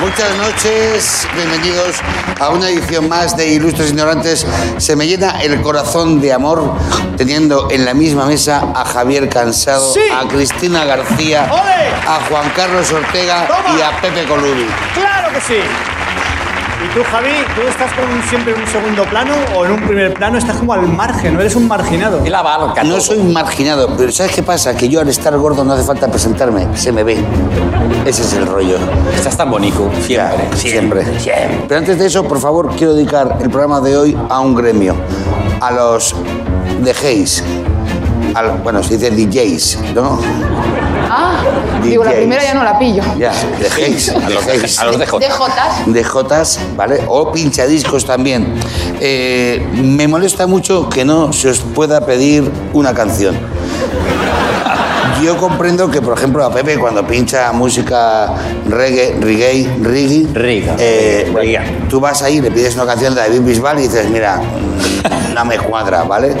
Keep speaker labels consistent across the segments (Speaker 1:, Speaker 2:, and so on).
Speaker 1: Muchas noches, bienvenidos a una edición más de Ilustres Ignorantes. Se me llena el corazón de amor teniendo en la misma mesa a Javier Cansado,
Speaker 2: Sí.
Speaker 1: a Cristina García,
Speaker 2: ¡Ole!
Speaker 1: a Juan Carlos Ortega
Speaker 2: ¡Toma!
Speaker 1: y a Pepe Colubi.
Speaker 2: ¡Claro que sí! Y tú, Javi, tú estás con un- siempre en un segundo plano o en un primer plano, estás como al margen, no eres un marginado.
Speaker 3: la barca.
Speaker 1: No soy un marginado, pero ¿sabes qué pasa? Que yo al estar gordo no hace falta presentarme, se me ve. Ese es el rollo.
Speaker 3: Estás tan bonito, siempre.
Speaker 1: Ya, siempre. Pero antes de eso, por favor, quiero dedicar el programa de hoy a un gremio, a los DJs. Al- bueno, se dice DJs, ¿no?
Speaker 4: Ah, digo, la
Speaker 1: DJs.
Speaker 4: primera ya no la pillo.
Speaker 1: Ya, DJs.
Speaker 3: A los
Speaker 1: DJs.
Speaker 3: a los de
Speaker 4: De Jotas.
Speaker 1: DJs, ¿vale? O pinchadiscos también. Eh, me molesta mucho que no se os pueda pedir una canción. Yo comprendo que, por ejemplo, a Pepe cuando pincha música reggae, reggae, reggae,
Speaker 3: Reggae.
Speaker 1: eh,
Speaker 3: Reggae.
Speaker 1: tú vas ahí, le pides una canción de David Bisbal y dices, mira, mm, no me cuadra, ¿vale?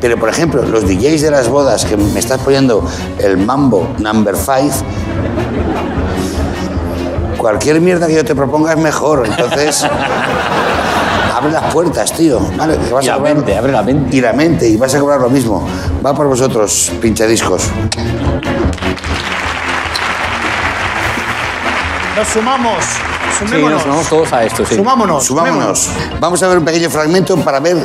Speaker 1: Pero, por ejemplo, los DJs de las bodas que me estás poniendo el mambo number five, cualquier mierda que yo te proponga es mejor. Entonces, abre las puertas, tío. ¿vale? Que vas
Speaker 3: Y
Speaker 1: a
Speaker 3: la
Speaker 1: cobrar-
Speaker 3: mente, abre la mente.
Speaker 1: Y la mente, y vas a cobrar lo mismo. Va por vosotros, pinchadiscos.
Speaker 2: Nos sumamos,
Speaker 3: Sí, nos
Speaker 2: sumémonos.
Speaker 3: sumamos todos a esto, sí.
Speaker 2: Sumámonos.
Speaker 1: Subámonos. Vamos a ver un pequeño fragmento para ver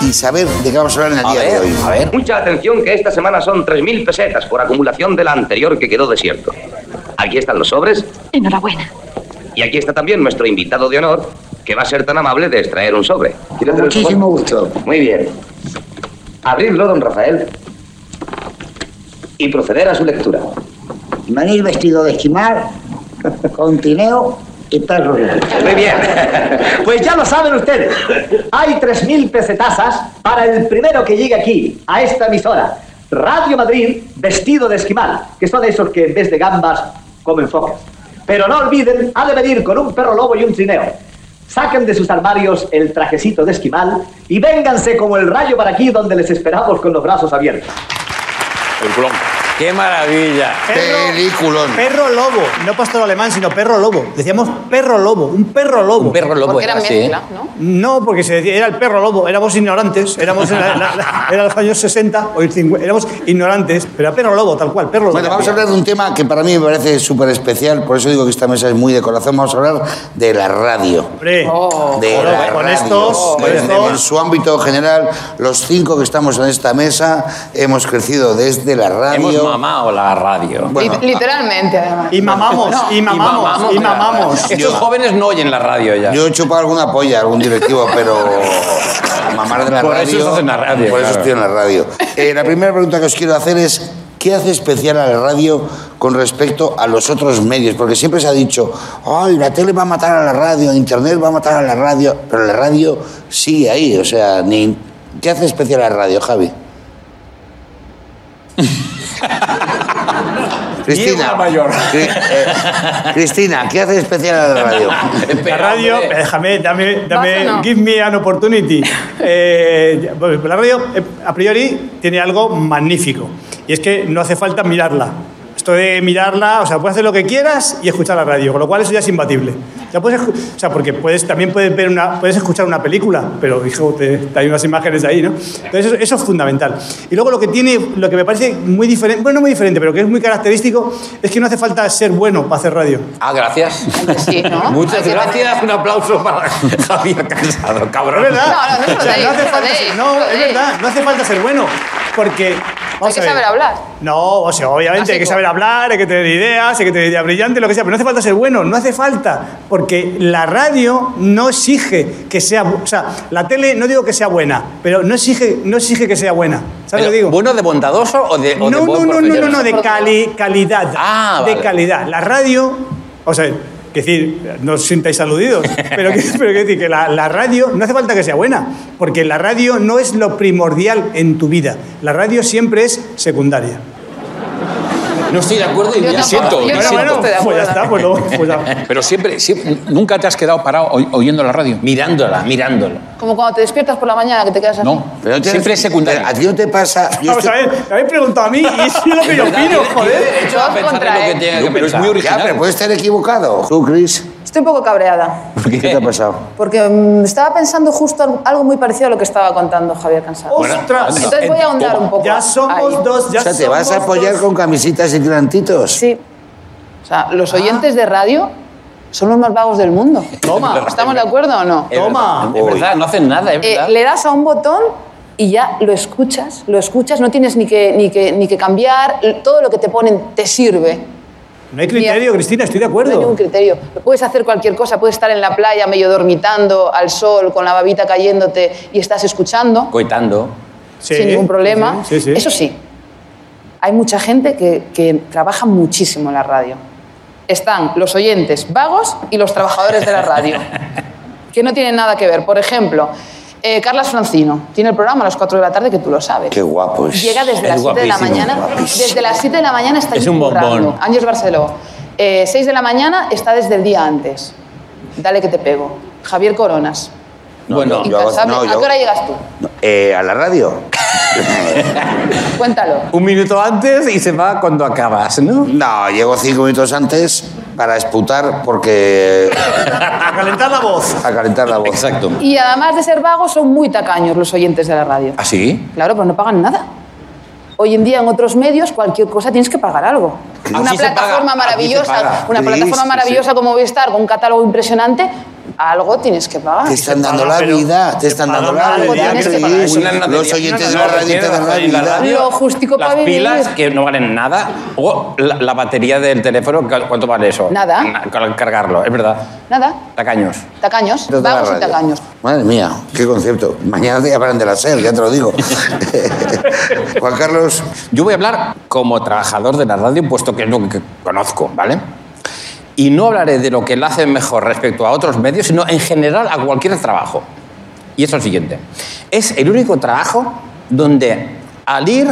Speaker 1: y saber de qué vamos a hablar en el
Speaker 3: A
Speaker 1: día de
Speaker 3: ver,
Speaker 1: hoy.
Speaker 3: a ver.
Speaker 5: Mucha atención que esta semana son 3.000 pesetas por acumulación de la anterior que quedó desierto. Aquí están los sobres
Speaker 4: Enhorabuena.
Speaker 5: y aquí está también nuestro invitado de honor que va a ser tan amable de extraer un sobre. Muchísimo gusto. Muy bien. Abrirlo, don Rafael, y proceder a su lectura.
Speaker 6: Manil vestido de esquimal, con tineo y perro.
Speaker 5: Muy bien.
Speaker 7: Pues ya lo saben ustedes. Hay 3.000 pesetasas para el primero que llegue aquí, a esta emisora. Radio Madrid vestido de esquimal, que son esos que en vez de gambas comen focas. Pero no olviden, ha de venir con un perro lobo y un trineo. Saquen de sus armarios el trajecito de esquimal y vénganse como el rayo para aquí donde les esperamos con los brazos abiertos.
Speaker 3: El culón. ¡Qué maravilla!
Speaker 1: Peliculón.
Speaker 2: Perro lobo, no pastor alemán, sino perro lobo. Decíamos perro lobo, un perro lobo.
Speaker 3: Un perro lobo
Speaker 4: Porque era
Speaker 3: era así, ¿eh?
Speaker 4: mezcla, ¿no?
Speaker 2: No, porque se decía, era el perro lobo, éramos ignorantes, éramos en la- la- la- era los años 60 o el 50, éramos ignorantes, pero era perro lobo, tal cual, perro lobo.
Speaker 1: Bueno, vamos a hablar de un tema que para mí me parece súper especial, por eso digo que esta mesa es muy de corazón. Vamos a hablar de la radio.
Speaker 2: Hombre,
Speaker 1: de
Speaker 2: Con-
Speaker 1: la
Speaker 2: con
Speaker 1: radio.
Speaker 2: estos, con
Speaker 1: En-
Speaker 2: estos.
Speaker 1: En su ámbito general, los cinco que estamos en esta mesa hemos crecido desde la radio.
Speaker 3: Hemos mamado la radio.
Speaker 1: Bueno,
Speaker 4: Li- literalmente, además.
Speaker 2: y mamamos, y mamamos, y
Speaker 3: la radio.
Speaker 2: mamamos.
Speaker 3: Estos jóvenes no oyen la radio ya.
Speaker 1: Yo he chupado alguna polla a algún directivo, pero mamar de la
Speaker 3: Por eso
Speaker 1: radio.
Speaker 3: estás en la radio,
Speaker 1: Por eso
Speaker 3: claro.
Speaker 1: estoy en la radio. Eh, la primera pregunta que os quiero hacer es. ¿Qué hace especial a la radio con respecto a los otros medios? Porque siempre se ha dicho, ay, la tele va a matar a la radio, Internet va a matar a la radio, pero la radio sigue ahí. O sea, ni... ¿qué hace especial a la radio, Javi? Cristina,
Speaker 3: Diego Mayor.
Speaker 1: Cri- eh, Cristina, ¿qué hace especial a la radio?
Speaker 2: La
Speaker 3: Espera,
Speaker 2: radio,
Speaker 3: hombre.
Speaker 2: déjame, dame, dame,
Speaker 4: Vas o no.
Speaker 2: give me an opportunity. Eh, ya, pues, la radio, eh, a priori, tiene algo magnífico. Y es que no hace falta mirarla. Esto de mirarla, o sea, puedes hacer lo que quieras y escuchar la radio, con lo cual eso ya es imbatible. Ya puedes, escu- o sea, porque puedes, también puedes, ver una, puedes escuchar una película, pero hijo, te, te hay unas imágenes ahí, ¿no? Entonces eso, eso es fundamental. Y luego lo que tiene, lo que me parece muy diferente, bueno, no muy diferente, pero que es muy característico, es que no hace falta ser bueno para hacer radio.
Speaker 3: Ah, gracias.
Speaker 4: Hombre, sí, ¿no?
Speaker 3: Muchas
Speaker 4: Hay que
Speaker 3: gracias. Un aplauso para Javier Cansado,
Speaker 2: Es
Speaker 3: cabrón.
Speaker 2: verdad.
Speaker 4: No, no, no
Speaker 2: O sea,
Speaker 4: jodéis,
Speaker 2: hace falta
Speaker 4: jodéis,
Speaker 2: ser, no, es
Speaker 4: jodéis.
Speaker 2: verdad, no hace falta ser bueno. Porque. Vamos a
Speaker 4: Hay que
Speaker 2: ver.
Speaker 4: saber hablar.
Speaker 2: No, o sea, obviamente
Speaker 4: Así
Speaker 2: hay que
Speaker 4: como-
Speaker 2: saber hablar, hay que tener ideas, hay que tener ideas brillantes, lo que sea, pero no hace falta ser bueno, no hace falta, porque la radio no exige que sea, bu- o sea, la tele no digo que sea buena, pero no exige, no exige que sea buena, ¿sabes lo que digo?
Speaker 3: ¿Bueno de bondadoso o de, o
Speaker 2: no,
Speaker 3: de
Speaker 2: no,
Speaker 3: buen
Speaker 2: no, no, no,
Speaker 3: profesional?
Speaker 2: no, de cali- calidad,
Speaker 3: Ah,
Speaker 2: de
Speaker 3: vale.
Speaker 2: calidad. La radio, o sea, que decir, no os sintáis aludidos, pero que, pero que decir que la, la radio no hace falta que sea buena, porque la radio no es lo primordial en tu vida. La radio siempre es secundaria.
Speaker 8: No estoy de acuerdo y
Speaker 4: Yo
Speaker 8: me
Speaker 4: tampoco.
Speaker 8: siento.
Speaker 4: Yo
Speaker 8: me
Speaker 4: no,
Speaker 8: siento.
Speaker 4: bueno. estoy
Speaker 2: pues
Speaker 4: de
Speaker 2: ya
Speaker 4: acuerdo.
Speaker 2: está, pues luego, pues ya.
Speaker 8: Pero siempre, siempre- nunca te has quedado parado oy- oyendo la radio.
Speaker 3: Mirándola, mirándola.
Speaker 4: Como cuando te despiertas por la mañana que te quedas así.
Speaker 8: No,
Speaker 1: Pero no te-
Speaker 8: siempre es secundaria.
Speaker 1: ¿A ti no te pasa? Yo
Speaker 2: Vamos a
Speaker 1: estoy-
Speaker 2: ver, me habéis preguntado a mí y eso es lo que yo opino, joder.
Speaker 4: Todos contra él.
Speaker 8: No, pero es muy
Speaker 1: Ya,
Speaker 8: original.
Speaker 1: pero puedes estar equivocado. ¿Tú, Chris?
Speaker 4: Estoy un poco cabreada,
Speaker 1: ¿Qué te ha pasado?
Speaker 4: porque mm, estaba pensando justo al- algo muy parecido a lo que estaba contando Javier Cansado.
Speaker 2: ¡Ostras!
Speaker 4: Entonces voy a ahondar un poco.
Speaker 2: Ya somos
Speaker 4: ahí.
Speaker 2: dos, ya
Speaker 1: o sea, ¿te vas a
Speaker 2: somos
Speaker 1: apoyar
Speaker 2: dos.
Speaker 1: con camisitas y tirantitos?
Speaker 4: Sí. O sea,
Speaker 2: Ah.
Speaker 4: los oyentes de radio son los más vagos del mundo. Toma. ¿Estamos de acuerdo o no?
Speaker 3: Es
Speaker 2: Toma.
Speaker 3: verdad, Es verdad, no hacen nada, es
Speaker 4: Eh,
Speaker 3: verdad.
Speaker 4: le das a un botón y ya lo escuchas, lo escuchas, no tienes ni que, ni que, ni que cambiar, l- todo lo que te ponen te sirve.
Speaker 2: No hay criterio, Cristina, estoy de
Speaker 4: No hay ningún
Speaker 2: acuerdo.
Speaker 4: criterio. Puedes hacer cualquier cosa, puedes estar en la playa medio dormitando, al sol, con la babita cayéndote y estás escuchando
Speaker 3: Coitando.
Speaker 2: Sí,
Speaker 4: sin ningún problema.
Speaker 2: sí, sí, sí.
Speaker 4: Eso sí, hay mucha gente que, que trabaja muchísimo en la radio. Están los oyentes vagos y los trabajadores de la radio, que no tienen nada que ver. Por ejemplo, eh, Carlas Francino tiene el programa a las 4 de la tarde, que tú lo sabes.
Speaker 1: Qué guapo es.
Speaker 4: Llega desde
Speaker 3: Es
Speaker 4: las 7 de la
Speaker 3: guapísimo,
Speaker 4: mañana.
Speaker 1: guapísimo.
Speaker 4: Desde las 7 de la mañana está
Speaker 3: Es
Speaker 4: allí
Speaker 3: un bombón.
Speaker 4: currando. Ángel Barceló. Eh, 6 de la mañana está desde el día antes. Dale que te pego. Javier Coronas.
Speaker 3: bueno,
Speaker 1: yo hago-
Speaker 4: Incansable.
Speaker 1: no,
Speaker 4: ¿A
Speaker 1: yo-
Speaker 4: qué hora llegas tú?
Speaker 1: No, eh, ¿A la radio?
Speaker 4: Cuéntalo.
Speaker 3: un minuto antes y se va cuando acabas, ¿no?
Speaker 1: No, llego cinco minutos antes para esputar porque...
Speaker 2: A calentar la voz.
Speaker 1: a calentar la voz.
Speaker 3: Exacto.
Speaker 4: Y además de ser vagos, son muy tacaños los oyentes de la radio.
Speaker 3: ¿Ah, sí?
Speaker 4: Claro, pues no pagan nada. Hoy en día en otros medios cualquier cosa tienes que pagar algo.
Speaker 3: Aquí
Speaker 4: una
Speaker 3: se paga, aquí
Speaker 4: plataforma
Speaker 3: se
Speaker 4: maravillosa,
Speaker 3: paga.
Speaker 4: una
Speaker 1: Sí,
Speaker 4: plataforma
Speaker 1: sí,
Speaker 4: maravillosa como Movistar con un catálogo impresionante, algo tienes que pagar.
Speaker 1: Te están
Speaker 2: Ah, se
Speaker 1: dando
Speaker 2: paga,
Speaker 1: la
Speaker 2: pero-
Speaker 1: vida, te
Speaker 2: se
Speaker 1: están
Speaker 2: paga
Speaker 1: dando
Speaker 2: una
Speaker 1: la vida.
Speaker 4: lotería,
Speaker 1: sí,
Speaker 4: se paga
Speaker 1: sí.
Speaker 3: Una lotería,
Speaker 1: Los oyentes de
Speaker 3: una
Speaker 1: la radio te
Speaker 3: lotería,
Speaker 1: dan la
Speaker 3: la
Speaker 1: vida.
Speaker 3: radio,
Speaker 4: Lo justico
Speaker 3: las
Speaker 4: para vivir.
Speaker 3: pilas que no valen nada o la, la batería del teléfono, ¿cu- ¿cuánto vale eso?
Speaker 4: Nada.
Speaker 3: Na- cal- Cargarlo, es verdad.
Speaker 4: Nada,
Speaker 3: Tacaños.
Speaker 4: tacaños,
Speaker 1: Los de la
Speaker 4: vagos y
Speaker 1: radio.
Speaker 4: tacaños.
Speaker 1: Madre mía, qué concepto. Mañana te hablarán de la SER, ya te lo digo. Juan Carlos,
Speaker 3: Yo voy a hablar como trabajador de la radio, puesto que es lo que conozco, ¿vale? Y no hablaré de lo que la hace mejor respecto a otros medios, sino en general a cualquier trabajo. Y es lo siguiente. Es el único trabajo donde al ir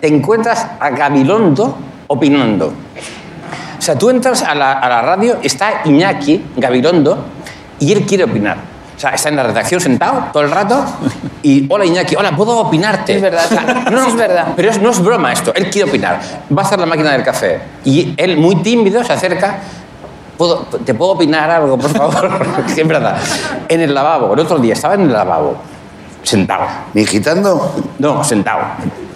Speaker 3: te encuentras a Gabilondo opinando. O sea, tú entras a la, a la radio, está Iñaki, Gabilondo, y él quiere opinar. O sea, está en la redacción sentado todo el rato y, hola Iñaki, hola, ¿puedo opinarte?
Speaker 4: Es verdad,
Speaker 3: O sea,
Speaker 4: eso es verdad.
Speaker 3: Pero es- no es broma esto, él quiere opinar. Va a hacer la máquina del café y él, muy tímido, se acerca. "¿Puedo- ¿Te puedo opinar algo, por favor? Sí, es verdad. En el lavabo, el otro día estaba en el lavabo, sentado.
Speaker 1: ni quitando,
Speaker 3: No, sentado.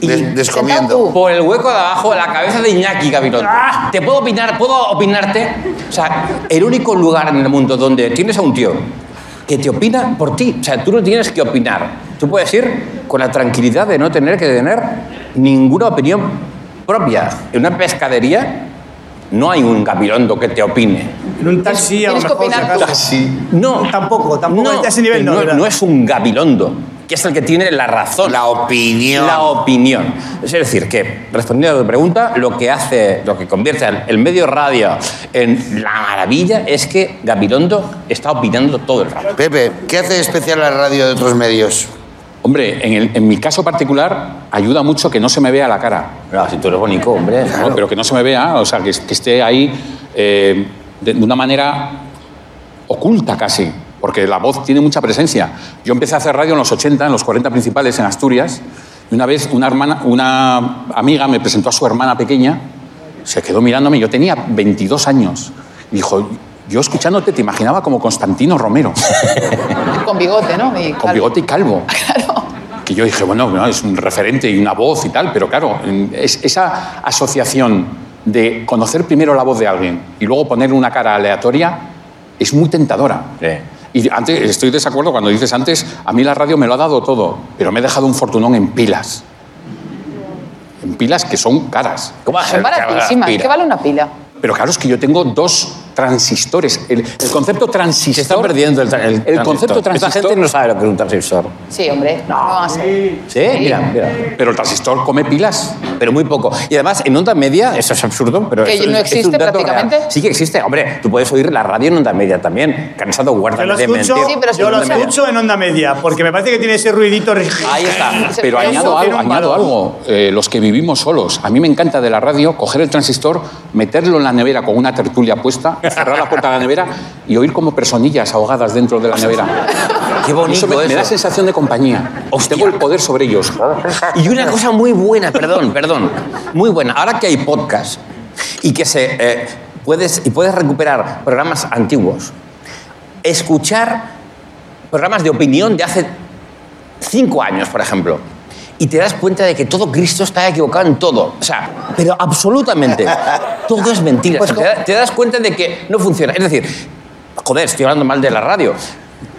Speaker 3: Y- uh,
Speaker 1: des- descomiendo.
Speaker 3: por el hueco de abajo la cabeza de Iñaki Gabilondo.
Speaker 2: Ah.
Speaker 3: ¿Te puedo opinar? ¿Puedo opinarte? O sea, el único lugar en el mundo donde tienes a un tío que te opina por ti. O sea, tú no tienes que opinar. Tú puedes ir con la tranquilidad de no tener que tener ninguna opinión propia. En una pescadería no hay un Gabilondo que te opine.
Speaker 2: En un taxi a lo
Speaker 4: Tienes que
Speaker 2: mejor. si
Speaker 4: opinar tú.
Speaker 2: acaso.
Speaker 3: No.
Speaker 2: Tampoco, tampoco a ese nivel no,
Speaker 3: no,
Speaker 2: ¿verdad?
Speaker 3: no es un Gabilondo, que es el que tiene la razón
Speaker 1: La opinión.
Speaker 3: la opinión. Es decir, que respondiendo a tu pregunta, lo que hace, lo que convierte el, el medio radio en la maravilla es que Gabilondo está opinando todo el rato.
Speaker 1: Pepe, ¿qué hace especial la radio de otros medios?
Speaker 8: Hombre, en, el- en mi caso particular ayuda mucho que no se me vea la cara.
Speaker 3: Ah, si tú eres bonito, hombre.
Speaker 8: ¿no? Pero que no se me vea, o sea, que, que esté ahí eh, de, de una manera oculta casi, porque la voz tiene mucha presencia. Yo empecé a hacer radio en los 80, en los 40 principales, en Asturias, y una vez una, hermana, una amiga me presentó a su hermana pequeña, se quedó mirándome, yo tenía 22 años, y dijo, yo escuchándote te imaginaba como Constantino Romero,
Speaker 4: Con bigote, ¿no? Y
Speaker 8: con
Speaker 4: claro.
Speaker 8: bigote y calvo. Que yo dije, bueno, bueno, es un referente y una voz y tal, pero claro, en- es, esa asociación de conocer primero la voz de alguien y luego ponerle una cara aleatoria es muy tentadora. Y antes, estoy desacuerdo cuando dices antes, a mí la radio me lo ha dado todo, pero me he dejado un fortunón en pilas. En pilas que son caras.
Speaker 3: ¿Cómo vas a
Speaker 4: Son baratísimas.
Speaker 3: aspirar?
Speaker 4: ¿Qué vale una pila?
Speaker 8: Pero claro, es que yo tengo dos transistores. El, el concepto transistor.
Speaker 3: Se está perdiendo el, tra- el transistor.
Speaker 8: concepto transistor.
Speaker 3: Esta gente no sabe lo que es un transistor.
Speaker 4: Sí, hombre. No, van a ser.
Speaker 3: Sí, mira, mira.
Speaker 8: Pero el transistor come pilas.
Speaker 3: Pero muy poco. Y además, en onda media, eso es absurdo, pero
Speaker 4: Que
Speaker 3: eso
Speaker 4: no
Speaker 3: es- es un
Speaker 4: existe
Speaker 3: dato
Speaker 4: prácticamente.
Speaker 3: real. Sí que existe, hombre. Tú puedes oír la radio en onda media también. Cansado, guarda
Speaker 2: Yo lo escucho,
Speaker 4: Sí, pero si
Speaker 2: yo lo
Speaker 4: escucha-
Speaker 2: escucho en onda media, porque me parece que tiene ese ruidito.
Speaker 3: Ahí está.
Speaker 4: Se-
Speaker 8: Pero
Speaker 4: eso
Speaker 8: añado
Speaker 2: tiene
Speaker 8: algo,
Speaker 2: un
Speaker 8: añado
Speaker 2: valor.
Speaker 8: algo. Eh, los que vivimos solos. A mí me encanta de la radio coger el transistor, meterlo en la nevera con una tertulia puesta, cerrar la puerta de la nevera y oír como personillas ahogadas dentro de la nevera.
Speaker 3: Qué
Speaker 8: Eso
Speaker 3: bonito
Speaker 8: me, me da
Speaker 3: eso.
Speaker 8: sensación de compañía.
Speaker 3: Hostia.
Speaker 8: Tengo el poder sobre ellos.
Speaker 3: Y una cosa muy buena, perdón, perdón, muy buena. Ahora que hay podcast y que se eh, puedes y puedes recuperar programas antiguos. escuchar programas de opinión de hace cinco años, por ejemplo. Y te das cuenta de que todo Cristo está equivocado en todo. O sea, pero absolutamente. Todo es mentira. O sea, te, da- te das cuenta de que no funciona. Es decir, joder, estoy hablando mal de la radio.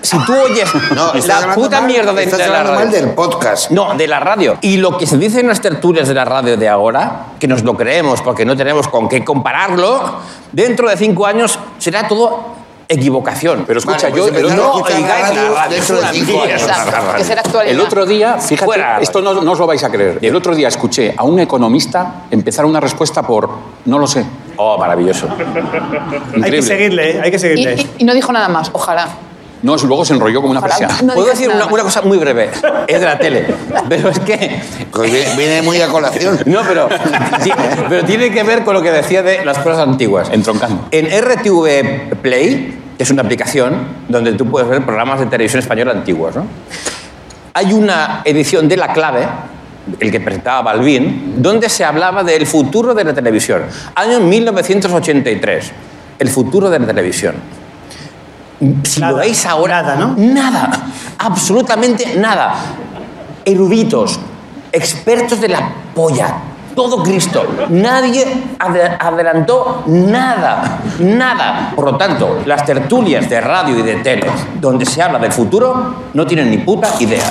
Speaker 3: Si tú oyes
Speaker 1: estás
Speaker 3: la
Speaker 1: hablando
Speaker 3: puta
Speaker 1: mal-
Speaker 3: mierda de,
Speaker 1: Estás
Speaker 3: de la
Speaker 1: hablando
Speaker 3: radio.
Speaker 1: mal del podcast.
Speaker 3: No, de la radio. Y lo que se dice en las tertulias de la radio de ahora, que nos lo creemos porque no tenemos con qué compararlo, dentro de cinco años será todo equivocación.
Speaker 8: Pero escucha,
Speaker 1: Vale, pues
Speaker 8: yo
Speaker 1: empezar
Speaker 8: el-
Speaker 1: a
Speaker 8: no
Speaker 1: escuchar la
Speaker 3: oigáis la
Speaker 1: radio
Speaker 3: radio,
Speaker 1: dentro de
Speaker 3: es una
Speaker 1: cinco años.
Speaker 3: mierda.
Speaker 4: Exacto, que será actualidad.
Speaker 8: El otro día, fíjate,
Speaker 3: Fuera.
Speaker 8: esto no, no os lo vais a creer. El otro día escuché a un economista empezar una respuesta por no lo sé.
Speaker 3: Oh, maravilloso.
Speaker 2: Hay que
Speaker 8: Increíble.
Speaker 2: seguirle, ¿eh? hay que
Speaker 4: Y,
Speaker 2: seguirle.
Speaker 4: y- y no dijo nada más, ojalá.
Speaker 8: No, luego se enrolló como una
Speaker 4: Ojalá.
Speaker 8: persiana.
Speaker 4: No
Speaker 3: Puedo
Speaker 4: digas
Speaker 3: decir una,
Speaker 4: nada más.
Speaker 3: una cosa muy breve. Es de la tele. Pero es que.
Speaker 1: Pues viene- viene muy a colación.
Speaker 3: No, pero, sí, pero tiene que ver con lo que decía de las cosas antiguas.
Speaker 8: Entroncando.
Speaker 3: En RTV Play, que es una aplicación donde tú puedes ver programas de televisión española antiguos, ¿no? hay una edición de La Clave, el que presentaba Balbín, donde se hablaba del futuro de la televisión. Año 1983, el futuro de la televisión. Si
Speaker 2: Nada,
Speaker 3: lo veis ahora,
Speaker 2: nada, ¿no?
Speaker 3: Nada, absolutamente nada. Eruditos, expertos de la polla, todo Cristo. Nadie ade- adelantó nada, nada. Por lo tanto, las tertulias de radio y de tele, donde se habla del futuro, no tienen ni puta idea.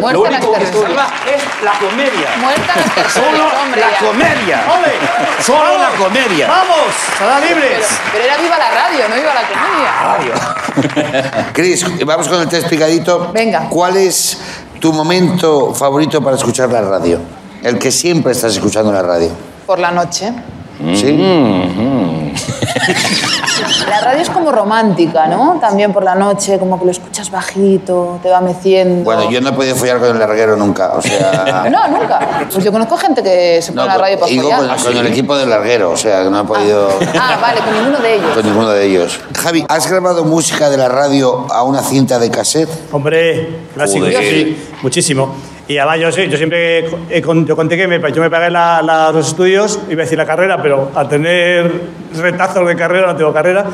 Speaker 4: Muerta
Speaker 3: Lo
Speaker 4: la
Speaker 3: único que se
Speaker 4: tertulia.
Speaker 3: salva es la comedia.
Speaker 4: Muerta la tertulia,
Speaker 3: Solo
Speaker 4: hombre.
Speaker 3: la
Speaker 4: ya.
Speaker 3: comedia.
Speaker 2: ¡Ole!
Speaker 3: Solo la
Speaker 2: ¡Vamos!
Speaker 3: comedia.
Speaker 2: ¡Vamos! ¡Sala
Speaker 4: Pero,
Speaker 2: libres!
Speaker 4: pero era viva la radio, no viva la comedia.
Speaker 1: Cris, vamos con el test picadito.
Speaker 4: Venga.
Speaker 1: ¿Cuál es tu momento favorito para escuchar la radio? El que siempre estás escuchando en la radio.
Speaker 4: Por la noche.
Speaker 1: ¿Sí?
Speaker 3: Mm.
Speaker 4: La radio es como romántica, ¿no? También por la noche, como que lo escuchas bajito, te va meciendo.
Speaker 1: Bueno, yo no he podido follar con el larguero nunca. O sea.
Speaker 4: No, nunca. Pues yo conozco gente que se pone
Speaker 1: No,
Speaker 4: la radio para
Speaker 1: digo
Speaker 4: follar.
Speaker 1: con, con el equipo del larguero, o sea, que no he podido.
Speaker 4: Ah, vale, con ninguno de ellos.
Speaker 1: Con ninguno de ellos. Javi, ¿has grabado música de la radio a una cinta de cassette?
Speaker 2: Hombre, clásico,
Speaker 3: Joder.
Speaker 2: sí, muchísimo. Y además yo, sí, yo siempre he con- yo conté que me, yo me pagué la- la- los estudios, iba a decir la carrera, pero al tener retazos de carrera, no tengo carrera,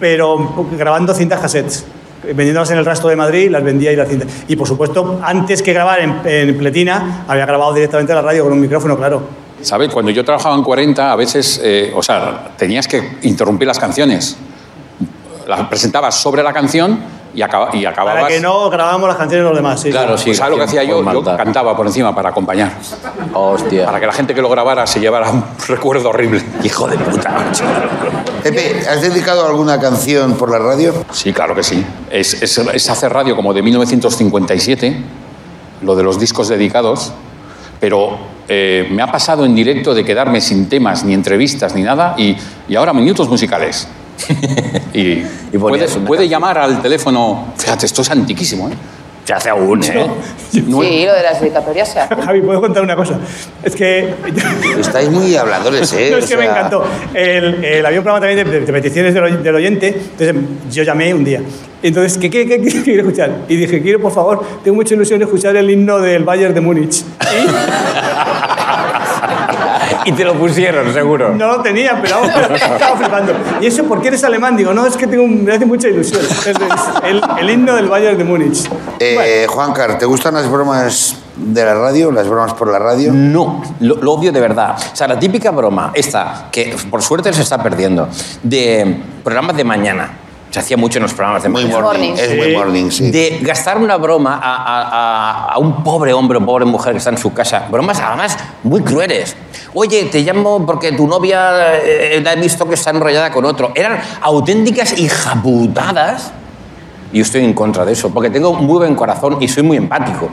Speaker 2: pero grabando cintas cassettes, vendiéndolas en el rastro de Madrid, las vendía y las cintas. Y por supuesto, antes que grabar en, en Pletina, había grabado directamente a la radio con un micrófono, claro.
Speaker 8: ¿Sabes? Cuando yo trabajaba en 40, a veces, eh, o sea, tenías que interrumpir las canciones. Las presentabas sobre la canción y, acaba- y acababas.
Speaker 2: Para que no grabábamos las canciones de los demás. sí,
Speaker 3: Claro,
Speaker 2: sí.
Speaker 3: sí.
Speaker 8: Pues, ¿Sabes lo que hacía yo?
Speaker 3: por
Speaker 8: Yo
Speaker 3: maldad.
Speaker 8: cantaba por encima para acompañar. Para
Speaker 3: Hostia.
Speaker 8: que la gente que lo grabara se llevara un recuerdo horrible.
Speaker 3: Hijo de puta, macho.
Speaker 1: Pepe, ¿has dedicado alguna canción por la radio?
Speaker 8: Sí, claro que sí. Es, es- es hacer radio como de 1957, lo de los discos dedicados, pero eh, me ha pasado en directo de quedarme sin temas, ni entrevistas, ni nada, y, y ahora minutos musicales. y puede,
Speaker 3: ponías una
Speaker 8: puede
Speaker 3: canción.
Speaker 8: llamar al teléfono. Fíjate, esto es antiquísimo, ¿eh?
Speaker 3: Se hace aún, ¿eh?
Speaker 8: No-
Speaker 4: Sí, lo de las dedicatorias se hace.
Speaker 2: Javi, ¿puedo contar una cosa? Es que...
Speaker 1: Estáis muy habladores, ¿eh?
Speaker 2: No, es que
Speaker 1: O
Speaker 2: me
Speaker 1: sea,
Speaker 2: encantó. El, el- había un programa también de, de peticiones del, oy- del oyente, entonces yo llamé un día. Entonces, ¿qué, qué, qué, qué quiero escuchar? Y dije, quiero, por favor, tengo mucha ilusión de escuchar el himno del Bayern de Múnich.
Speaker 3: Y te lo pusieron, seguro.
Speaker 2: No lo tenía, pero vamos, estaba flipando. ¿Y eso por qué eres alemán? Digo, no, es que tengo, un- me hace mucha ilusión. Es el, el himno del Bayern de Múnich.
Speaker 1: Eh, Juancar, ¿te gustan las bromas de la radio? ¿Las bromas por la radio?
Speaker 3: No, lo, lo odio de verdad. O sea, la típica broma, esta, que por suerte se está perdiendo, de programas de mañana. Se hacía mucho en los programas de
Speaker 1: Muy
Speaker 3: mañana.
Speaker 1: morning.
Speaker 4: Morning.
Speaker 1: Es muy
Speaker 2: Sí.
Speaker 1: morning, sí.
Speaker 3: De gastar una broma a, a- a- a un pobre hombre o pobre mujer que está en su casa. Bromas además muy crueles. Oye, te llamo porque tu novia eh, la he visto que está enrollada con otro. Eran auténticas hijaputadas. Y yo estoy en contra de eso, porque tengo muy buen corazón y soy muy empático.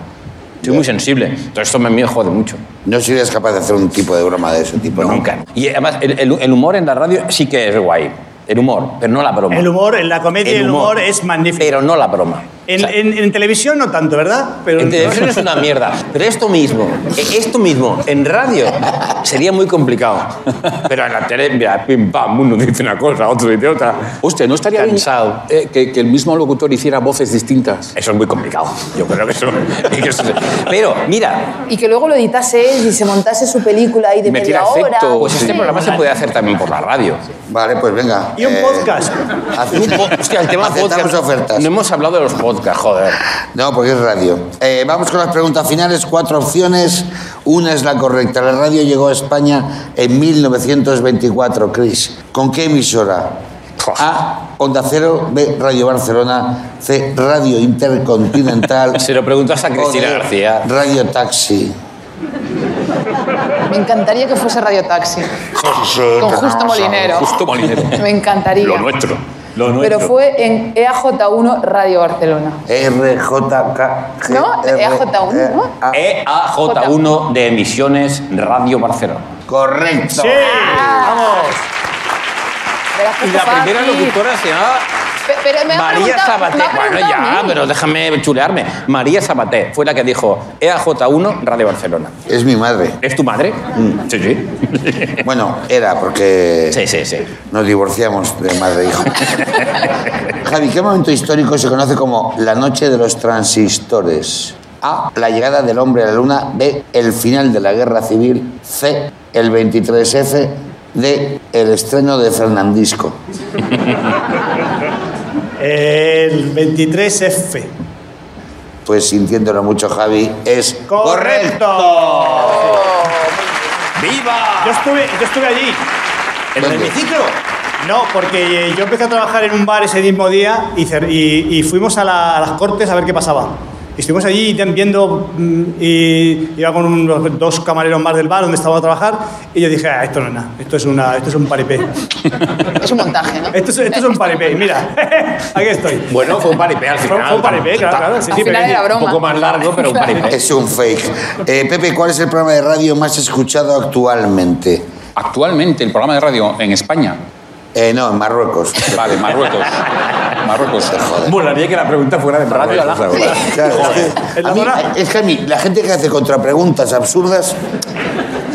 Speaker 3: Soy muy sensible. Entonces esto me, me jode mucho.
Speaker 1: No serías capaz de hacer un tipo de broma de ese tipo, ¿no?
Speaker 3: Pues Nunca. Y además, el, el- el humor en la radio sí que es guay. El humor, pero no la broma. Eh,
Speaker 2: El humor, la comedia, el humor, es magnífico.
Speaker 3: Pero no la broma.
Speaker 2: En,
Speaker 3: O sea-
Speaker 2: en- en televisión no tanto, ¿verdad? Pero
Speaker 3: En televisión es una mierda. Pero esto mismo, e- esto mismo, en radio sería muy complicado. Pero en la tele, mira, pim pam, uno dice una cosa, otro dice otra.
Speaker 8: Hostia, ¿no estaría bien
Speaker 3: Cansado.
Speaker 8: eh, que, que el mismo locutor hiciera voces distintas?
Speaker 3: Eso es muy complicado. Yo creo que eso. que eso- pero, mira,
Speaker 4: Y que luego lo editase él y se montase su película ahí de
Speaker 8: Metiera
Speaker 4: media hora.
Speaker 8: efectos,
Speaker 3: pues este
Speaker 4: Sí.
Speaker 3: programa se puede hacer también por la radio.
Speaker 1: Vale, pues venga.
Speaker 2: Y un
Speaker 3: Eh,
Speaker 2: podcast.
Speaker 1: ace-
Speaker 3: Un po- Hostia, el tema
Speaker 1: aceptamos
Speaker 3: podcast.
Speaker 1: ofertas.
Speaker 3: No hemos hablado de los podcasts, joder.
Speaker 1: No, porque es radio. Eh, vamos con las preguntas finales. Cuatro opciones. Una es la correcta. La radio llegó a España en 1924, Chris. ¿Con qué emisora? A. Onda Cero. B. Radio Barcelona. C. Radio Intercontinental.
Speaker 3: Se lo preguntas a
Speaker 1: o
Speaker 3: Cristina
Speaker 1: D,
Speaker 3: García.
Speaker 1: Radio Taxi.
Speaker 4: Me encantaría que fuese Radio Taxi. Con Justo Molinero.
Speaker 8: Justo Molinero.
Speaker 4: Me encantaría.
Speaker 8: Lo nuestro. Lo
Speaker 4: Pero fue en E EAJ1 Radio Barcelona.
Speaker 1: RJK.
Speaker 4: No, EAJ1, ¿no?
Speaker 1: E,
Speaker 3: E EAJ1 de Emisiones Radio Barcelona.
Speaker 1: Correcto.
Speaker 2: Sí, vamos.
Speaker 4: Verás que
Speaker 3: Y
Speaker 4: esto
Speaker 3: la
Speaker 4: es
Speaker 3: primera
Speaker 4: fácil.
Speaker 3: locutora se llamaba
Speaker 4: Pe- Pero me ha
Speaker 3: María
Speaker 4: preguntado- me
Speaker 3: Sabaté.
Speaker 4: ha
Speaker 3: Bueno,
Speaker 4: preguntado a
Speaker 3: ya,
Speaker 4: mí.
Speaker 3: pero déjame chulearme. María Sabaté fue la que dijo E EAJ1 Radio Barcelona.
Speaker 1: Es mi madre.
Speaker 3: ¿Es tu madre? Sí, sí.
Speaker 1: Bueno, era porque
Speaker 3: Sí, sí, sí.
Speaker 1: nos divorciamos de madre e hijo. Javi, ¿qué momento histórico se conoce como la noche de los transistores? A. La llegada del hombre a la luna. B. El final de la guerra civil. C. El 23F. D. El estreno de Fernandisco.
Speaker 2: El 23F.
Speaker 1: Pues sintiéndolo mucho, Javi, es
Speaker 3: ¡Viva!
Speaker 2: Yo estuve, yo estuve allí.
Speaker 3: ¿En el hemiciclo?
Speaker 2: No, porque eh, yo empecé a trabajar en un bar ese mismo día y, cer- y- y fuimos a, la- a las cortes a ver qué pasaba. Y estuvimos allí tam- viendo, mm, y iba con unos dos camareros más del bar donde estaba a trabajar, y yo dije, "Ah, esto no es nada, esto es, una, esto es un paripé.
Speaker 4: Es un montaje, ¿no? Eh,
Speaker 2: Esto es, esto es un paripé, y mira, aquí estoy.
Speaker 3: Bueno, fue un paripé al
Speaker 2: Fue
Speaker 3: final.
Speaker 2: fue un paripé, claro, claro. Sí,
Speaker 4: Al
Speaker 2: sí,
Speaker 4: final
Speaker 2: pero-
Speaker 4: era broma.
Speaker 3: Un poco más largo, pero un paripé.
Speaker 1: Es un fake. Eh, Pepe, ¿cuál es el programa de radio más escuchado actualmente?
Speaker 8: Actualmente, el programa de radio en España.
Speaker 1: Eh, no, en Marruecos.
Speaker 8: Vale, Marruecos. Marruecos.
Speaker 3: Molaría que la pregunta fuera de ¿eh? radio a la
Speaker 1: Claro, es,
Speaker 2: En
Speaker 1: que,
Speaker 2: la
Speaker 1: a mí-
Speaker 2: zona-
Speaker 1: es que a mí, la gente que hace contrapreguntas absurdas.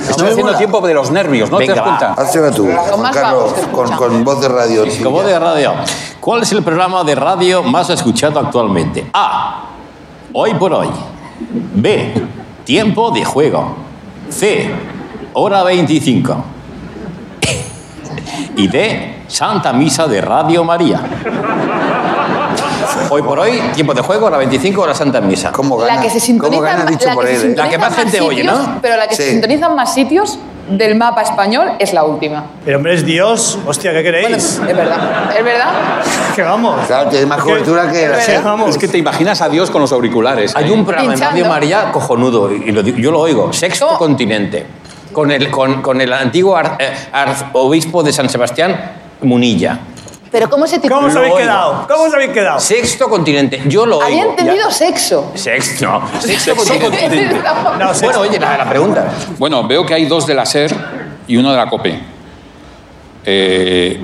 Speaker 8: Estoy haciendo
Speaker 1: mola.
Speaker 8: tiempo de los nervios, ¿no
Speaker 3: Venga,
Speaker 8: te das cuenta?
Speaker 1: Hazte una tú, Juan
Speaker 4: más
Speaker 1: Carlos,
Speaker 4: vagos que
Speaker 1: con,
Speaker 4: escuchan.
Speaker 1: con voz de radio. tuya.
Speaker 3: Como de radio. ¿Cuál es el programa de radio más escuchado actualmente? A. Hoy por hoy. B. Tiempo de juego. C. Hora 25. Y D. Santa Misa de Radio María. Hoy por hoy, tiempo de juego, hora 25, hora Santa Misa.
Speaker 1: ¿Cómo gana?
Speaker 4: La que se sintoniza
Speaker 1: ¿Cómo gana
Speaker 4: ma-
Speaker 1: dicho
Speaker 4: la
Speaker 1: por
Speaker 4: que se
Speaker 1: él? eh?
Speaker 3: La que
Speaker 4: sintoniza
Speaker 3: más gente oye,
Speaker 4: sitios,
Speaker 3: ¿no?
Speaker 4: Pero la que
Speaker 1: Sí.
Speaker 4: se sintonizan más sitios del mapa español es la última.
Speaker 2: Pero hombre, es Dios, hostia, ¿qué
Speaker 4: Bueno,
Speaker 2: queréis?
Speaker 4: es verdad. Es verdad.
Speaker 2: que vamos.
Speaker 1: Claro, tiene más
Speaker 2: Es
Speaker 1: cobertura que la
Speaker 2: es
Speaker 1: SER.
Speaker 2: vamos.
Speaker 8: Es que te imaginas a Dios con los auriculares.
Speaker 3: Hay
Speaker 8: ahí.
Speaker 3: un programa
Speaker 4: Pinchando.
Speaker 3: en Radio María cojonudo, y lo digo- yo lo oigo, Sexto
Speaker 4: ¿Cómo?
Speaker 3: Continente, con el, con, con el antiguo ar- eh, arzobispo de San Sebastián, Munilla.
Speaker 4: Pero ¿cómo se
Speaker 2: ¿Cómo os
Speaker 4: titula?
Speaker 2: habéis
Speaker 3: oigo.
Speaker 2: quedado? ¿Cómo os habéis quedado?
Speaker 3: Sexto Continente, yo lo
Speaker 4: Había
Speaker 3: oigo.
Speaker 4: entendido
Speaker 3: Ya-
Speaker 4: sexo.
Speaker 3: Sexto, no, Sexto Continente.
Speaker 4: Estamos-
Speaker 2: No, sexto.
Speaker 3: Bueno, oye, la, la pregunta.
Speaker 8: Bueno, veo que hay dos de la SER y uno de la COPE. Eh,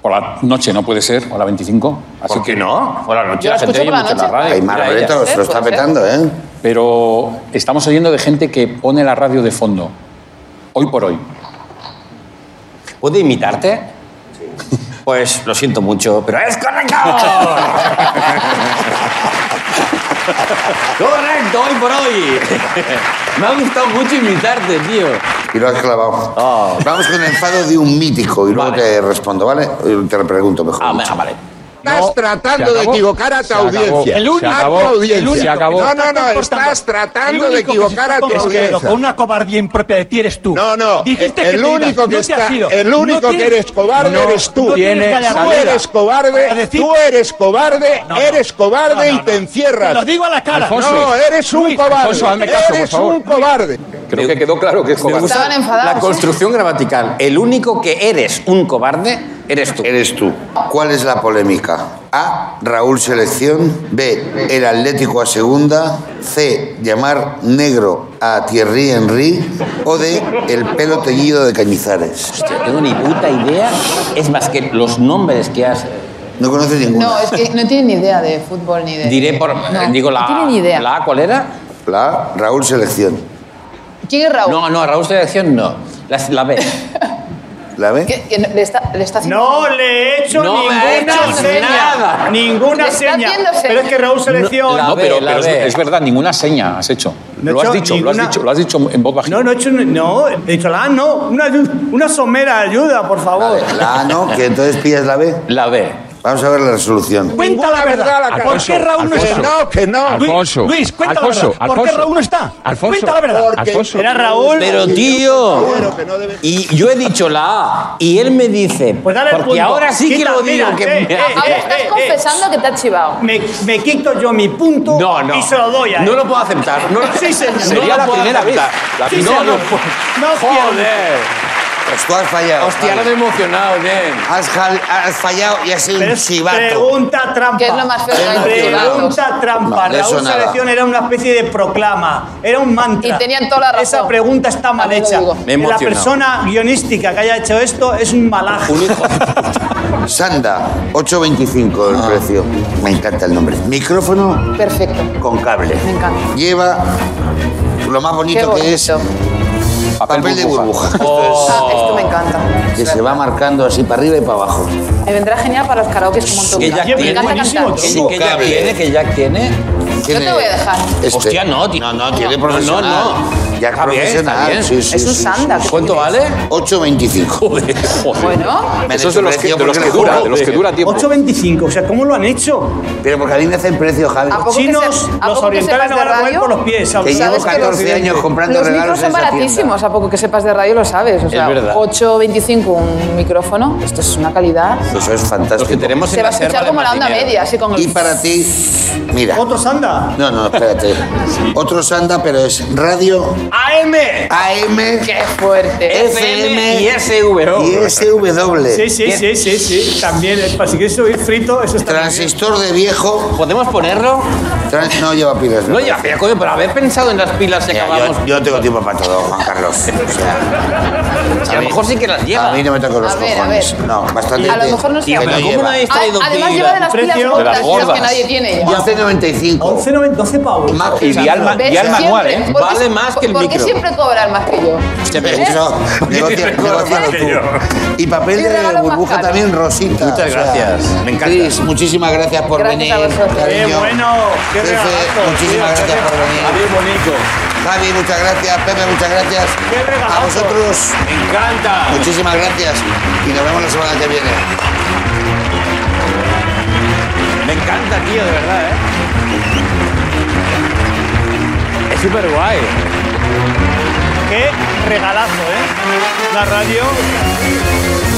Speaker 8: por la noche no puede ser, o la 25. Así
Speaker 3: ¿Por qué
Speaker 8: que-
Speaker 3: no? Por la noche
Speaker 4: Yo
Speaker 3: la
Speaker 4: la
Speaker 3: gente
Speaker 4: escucho
Speaker 3: oye
Speaker 4: por la
Speaker 3: mucho la
Speaker 4: noche.
Speaker 3: radio.
Speaker 1: Hay más
Speaker 3: Mira, ella.
Speaker 1: retos, lo
Speaker 4: Puede
Speaker 1: está
Speaker 4: ser.
Speaker 1: petando, ¿eh?
Speaker 8: Pero estamos oyendo de gente que pone la radio de fondo, hoy por hoy.
Speaker 3: ¿Puede imitarte? Pues lo siento mucho, pero es correcto. correcto, hoy por hoy. Me ha gustado mucho imitarte, tío.
Speaker 1: Y lo has clavado.
Speaker 3: Oh.
Speaker 4: Ah.
Speaker 1: Vamos con el enfado de un mítico y luego
Speaker 3: Vale.
Speaker 1: te respondo, ¿vale? Y Te pregunto mejor.
Speaker 3: Ah,
Speaker 1: dicho.
Speaker 3: venga, vale.
Speaker 9: Estás tratando de equivocar a tu audiencia. a tu audiencia. No, no, no, estás tratando de equivocar a tu audiencia.
Speaker 10: una cobardía impropia de ti eres tú.
Speaker 9: No, no,
Speaker 10: Dijiste
Speaker 9: el
Speaker 10: te ibas,
Speaker 9: único
Speaker 10: no
Speaker 9: que
Speaker 10: te
Speaker 9: está-
Speaker 10: has ido.
Speaker 9: el
Speaker 10: No
Speaker 9: único que
Speaker 10: tienes-
Speaker 9: eres cobarde
Speaker 10: no,
Speaker 9: eres tú.
Speaker 10: no tienes
Speaker 9: Tienes
Speaker 10: cara de
Speaker 9: Tú
Speaker 10: abuela
Speaker 9: eres
Speaker 10: para
Speaker 9: cobarde,
Speaker 10: decir-
Speaker 9: tú eres cobarde,
Speaker 10: No, no.
Speaker 9: eres cobarde
Speaker 10: No, no,
Speaker 9: y te
Speaker 10: no.
Speaker 9: encierras.
Speaker 10: Te lo digo a la cara.
Speaker 9: No, eres un
Speaker 10: Luis,
Speaker 9: cobarde.
Speaker 10: Alfonso, hazme caso, por
Speaker 9: Eres
Speaker 10: favor.
Speaker 9: un cobarde.
Speaker 8: Creo que quedó claro que es
Speaker 3: Me
Speaker 8: cobarde.
Speaker 3: gusta
Speaker 4: Estaban enfadados,
Speaker 3: La
Speaker 4: ¿eh?
Speaker 3: construcción gramatical. El único que eres un cobarde eres tú.
Speaker 1: Eres tú. ¿Cuál es la polémica? A. Raúl Selección. B. El Atlético a segunda. C. Llamar negro a Thierry Henry. O D. El pelo teñido de Cañizares.
Speaker 4: Eh,
Speaker 3: Hostia, no tengo ni puta idea. Es más que los nombres que has
Speaker 1: No conoces ninguna.
Speaker 4: No, eh. es que no tiene ni idea de fútbol ni de.
Speaker 3: Diré por.
Speaker 4: eh, No,
Speaker 3: digo
Speaker 4: No
Speaker 3: la.
Speaker 4: tiene ni idea.
Speaker 3: ¿La A cuál era?
Speaker 1: La Raúl Selección.
Speaker 4: ¿Quién es Raúl?
Speaker 3: No, no, Raúl Selección no. La, la B.
Speaker 1: ¿La ve?
Speaker 4: Que- que no- le, está, le está haciendo.
Speaker 2: No le he hecho
Speaker 3: No me
Speaker 2: ninguna
Speaker 3: ha hecho
Speaker 2: seña.
Speaker 3: nada.
Speaker 2: Ninguna
Speaker 4: Le está
Speaker 2: seña.
Speaker 4: haciendo seña.
Speaker 2: Pero es que Raúl Selección.
Speaker 3: la
Speaker 8: No,
Speaker 3: B,
Speaker 8: pero,
Speaker 3: la
Speaker 8: pero es,
Speaker 3: B.
Speaker 8: es verdad, ninguna seña has hecho.
Speaker 2: No he
Speaker 8: lo, has
Speaker 2: hecho
Speaker 8: dicho lo
Speaker 2: ninguna-
Speaker 8: has dicho, lo has dicho en voz bajita.
Speaker 2: No, no he hecho. ni- No, he dicho la A, no. Una, ayu- una somera ayuda, por
Speaker 1: La,
Speaker 2: favor.
Speaker 1: B. La A no, que entonces pillas la B.
Speaker 3: La B.
Speaker 1: Vamos a ver la resolución.
Speaker 10: Cuenta la verdad.
Speaker 9: la
Speaker 10: ¿Por qué Raúl no
Speaker 9: Que
Speaker 10: está?
Speaker 9: no, que no.
Speaker 10: Luis,
Speaker 11: Alfonso.
Speaker 10: Luis, cuenta
Speaker 11: Alfonso,
Speaker 10: la verdad. ¿Por qué
Speaker 11: Alfonso.
Speaker 10: Raúl no está?
Speaker 11: Alfonso.
Speaker 10: Cuenta la verdad.
Speaker 11: Alfonso.
Speaker 2: Era Raúl.
Speaker 3: Pero tío. Y yo he dicho la A. Y él me dice.
Speaker 2: Pues dale el
Speaker 3: porque
Speaker 2: punto.
Speaker 3: ahora sí que
Speaker 2: Quita,
Speaker 3: lo digo.
Speaker 2: mira,
Speaker 3: Que
Speaker 2: eh,
Speaker 3: me
Speaker 2: eh,
Speaker 3: hace-
Speaker 4: Ahora
Speaker 2: eh,
Speaker 4: estás
Speaker 2: eh.
Speaker 4: confesando que te ha chivado.
Speaker 2: Me, me quito yo mi punto
Speaker 3: No, no.
Speaker 2: y se lo doy a él.
Speaker 3: No lo puedo aceptar. No,
Speaker 2: Sí, señor.
Speaker 3: Sería
Speaker 2: No
Speaker 3: la
Speaker 2: lo puedo
Speaker 3: primera vez.
Speaker 2: aceptar.
Speaker 3: La
Speaker 2: Sí,
Speaker 3: primera
Speaker 2: señor.
Speaker 3: no puedo-
Speaker 2: No
Speaker 3: Joder.
Speaker 1: Pues tú has fallado.
Speaker 3: Hostia, ahora me he emocionado, Nen.
Speaker 1: Has, jal- has fallado y has sido
Speaker 2: Pero
Speaker 1: un
Speaker 2: es
Speaker 1: chivato.
Speaker 2: Pregunta trampa.
Speaker 4: Que es lo más feo que hay en los
Speaker 2: Pregunta
Speaker 4: chivatos.
Speaker 2: trampa.
Speaker 1: No, de
Speaker 2: la
Speaker 1: eso
Speaker 2: última
Speaker 1: nada.
Speaker 2: elección era una especie de proclama, era un mantra.
Speaker 4: Y tenían toda la razón.
Speaker 2: Esa pregunta está mal
Speaker 4: También lo
Speaker 2: hecha.
Speaker 4: digo.
Speaker 3: Me he
Speaker 2: la
Speaker 3: emocionado.
Speaker 2: persona guionística que haya hecho esto es un malaje.
Speaker 3: Un hijo.
Speaker 1: Sanda, 8.25 el precio. Me encanta el nombre. Micrófono
Speaker 4: Perfecto.
Speaker 1: con cable.
Speaker 4: Me encanta.
Speaker 1: Lleva lo más
Speaker 4: Qué
Speaker 1: bonito que es
Speaker 4: bonito.
Speaker 1: papel, de burbuja. Oh,
Speaker 4: Ah, esto me encanta.
Speaker 1: que se va marcando así para arriba y para abajo.
Speaker 4: Me vendrá genial para los karaoke como tú.
Speaker 3: Que ya
Speaker 4: Me
Speaker 3: tiene
Speaker 4: encanta
Speaker 2: buenísimo,
Speaker 4: cantar.
Speaker 2: tío.
Speaker 3: Que, que Jack
Speaker 1: Cable.
Speaker 3: tiene, que Jack tiene.
Speaker 1: Tiene-
Speaker 4: te voy a dejar.
Speaker 1: Este-
Speaker 3: Hostia, no, tío.
Speaker 1: No, no, tiene
Speaker 3: No, no,
Speaker 1: profesional.
Speaker 3: no.
Speaker 1: Ya
Speaker 3: Está bien,
Speaker 1: profesional.
Speaker 3: está bien.
Speaker 1: sí, sí,
Speaker 4: Es un
Speaker 1: sí,
Speaker 4: sanda.
Speaker 1: sí.
Speaker 4: ¿qué
Speaker 3: ¿Cuánto
Speaker 4: tienes?
Speaker 3: vale?
Speaker 1: 8.25.
Speaker 3: Joder, joder.
Speaker 4: Bueno,
Speaker 1: Me han hecho
Speaker 8: Eso es de los que,
Speaker 1: precio
Speaker 8: de los
Speaker 1: porque
Speaker 8: que
Speaker 1: le
Speaker 8: dura,
Speaker 1: juro.
Speaker 8: de los que dura tiempo.
Speaker 2: 8.25, o sea, ¿cómo lo han hecho?
Speaker 1: Pero porque a mí me hacen precio, Javi.
Speaker 4: ¿A
Speaker 2: Los
Speaker 4: poco que
Speaker 2: chinos,
Speaker 4: se- a
Speaker 2: los
Speaker 4: poco que
Speaker 2: orientales
Speaker 4: sepas
Speaker 2: no
Speaker 4: de
Speaker 2: van a comer
Speaker 4: radio?
Speaker 2: por los pies.
Speaker 1: Que
Speaker 4: ¿sabes
Speaker 1: llevo
Speaker 4: que los
Speaker 1: 14 años comprando
Speaker 4: los
Speaker 1: regalos
Speaker 4: micros son
Speaker 1: en esa tienda.
Speaker 4: baratísimos, a poco que sepas de radio lo sabes. O sea,
Speaker 3: verdad.
Speaker 4: 8.25 un micrófono, esto es una calidad.
Speaker 1: pues Eso es
Speaker 3: Los
Speaker 1: fantástico.
Speaker 3: que tenemos
Speaker 4: Se
Speaker 3: en
Speaker 4: va
Speaker 3: la
Speaker 4: a escuchar
Speaker 3: selva de
Speaker 4: como la onda
Speaker 3: Martinero.
Speaker 4: media, así con el...
Speaker 1: Y para ti, mira.
Speaker 2: Otro sanda.
Speaker 1: No, no, espérate. Otro sanda, pero es radio
Speaker 3: AM,
Speaker 1: AM
Speaker 4: ¡Qué fuerte!
Speaker 1: FM
Speaker 3: FM y SVO.
Speaker 1: y SW.
Speaker 2: Sí, sí, sí, sí, sí. También, eh, para si quieres subir frito, eso está muy bien.
Speaker 1: Transistor de viejo.
Speaker 3: ¿Podemos ponerlo?
Speaker 1: Tran- no lleva pilas. me
Speaker 3: No, ya,
Speaker 1: parece.
Speaker 3: pero, coño, pero haber pensado en las pilas que
Speaker 1: Ya,
Speaker 3: acabamos.
Speaker 1: yo, yo tengo tiempo para todo, Juan Carlos. O sea,
Speaker 3: a, lo mejor sí que las lleva.
Speaker 1: a mí no me tocan los
Speaker 4: A ver, a
Speaker 1: cojones.
Speaker 4: ver.
Speaker 1: No, bastante.
Speaker 4: A lo
Speaker 1: que-
Speaker 4: mejor no sé.
Speaker 3: Tío,
Speaker 1: que
Speaker 3: pero ¿cómo
Speaker 1: lleva.
Speaker 3: no habéis traído
Speaker 4: Ah, Además
Speaker 3: pila?
Speaker 4: lleva de las
Speaker 2: Precio
Speaker 4: pilas
Speaker 2: de
Speaker 4: gordas,
Speaker 8: las
Speaker 4: de las
Speaker 8: gordas.
Speaker 4: que nadie tiene ya.
Speaker 1: 11.95.
Speaker 2: 11.90, 12 pavos.
Speaker 1: Más
Speaker 8: Y
Speaker 1: que
Speaker 8: de alma,
Speaker 4: ¿Ves?
Speaker 8: y alma anual,
Speaker 4: Siempre.
Speaker 8: ¿eh?
Speaker 4: ¿Por qué-
Speaker 3: Vale más que el
Speaker 4: ¿Por qué
Speaker 3: micro.
Speaker 4: siempre cobran más que yo?
Speaker 1: Eso, negocia, negócialo tú. Y papel
Speaker 4: ¿Eh? Y
Speaker 1: de
Speaker 4: regalo más
Speaker 1: burbuja
Speaker 4: caro.
Speaker 1: también, Rosita.
Speaker 3: Muchas
Speaker 1: O sea,
Speaker 3: gracias. Me encanta.
Speaker 1: Cris, muchísimas gracias por
Speaker 4: Gracias
Speaker 1: venir.
Speaker 4: a vosotros.
Speaker 2: Qué
Speaker 1: cariño.
Speaker 2: bueno, qué
Speaker 1: Jefe,
Speaker 2: regalazo.
Speaker 1: muchísimas
Speaker 2: tío,
Speaker 1: gracias
Speaker 2: qué
Speaker 1: por venir.
Speaker 2: regalazo.
Speaker 1: Javi, muchas gracias. Pepe, muchas gracias.
Speaker 2: Qué regalazo.
Speaker 1: A vosotros,
Speaker 3: Me encanta.
Speaker 1: muchísimas gracias. Y nos vemos la semana que viene.
Speaker 3: Me encanta, tío, de verdad, ¿eh? Es súper guay.
Speaker 2: Qué regalazo, ¿eh? La radio.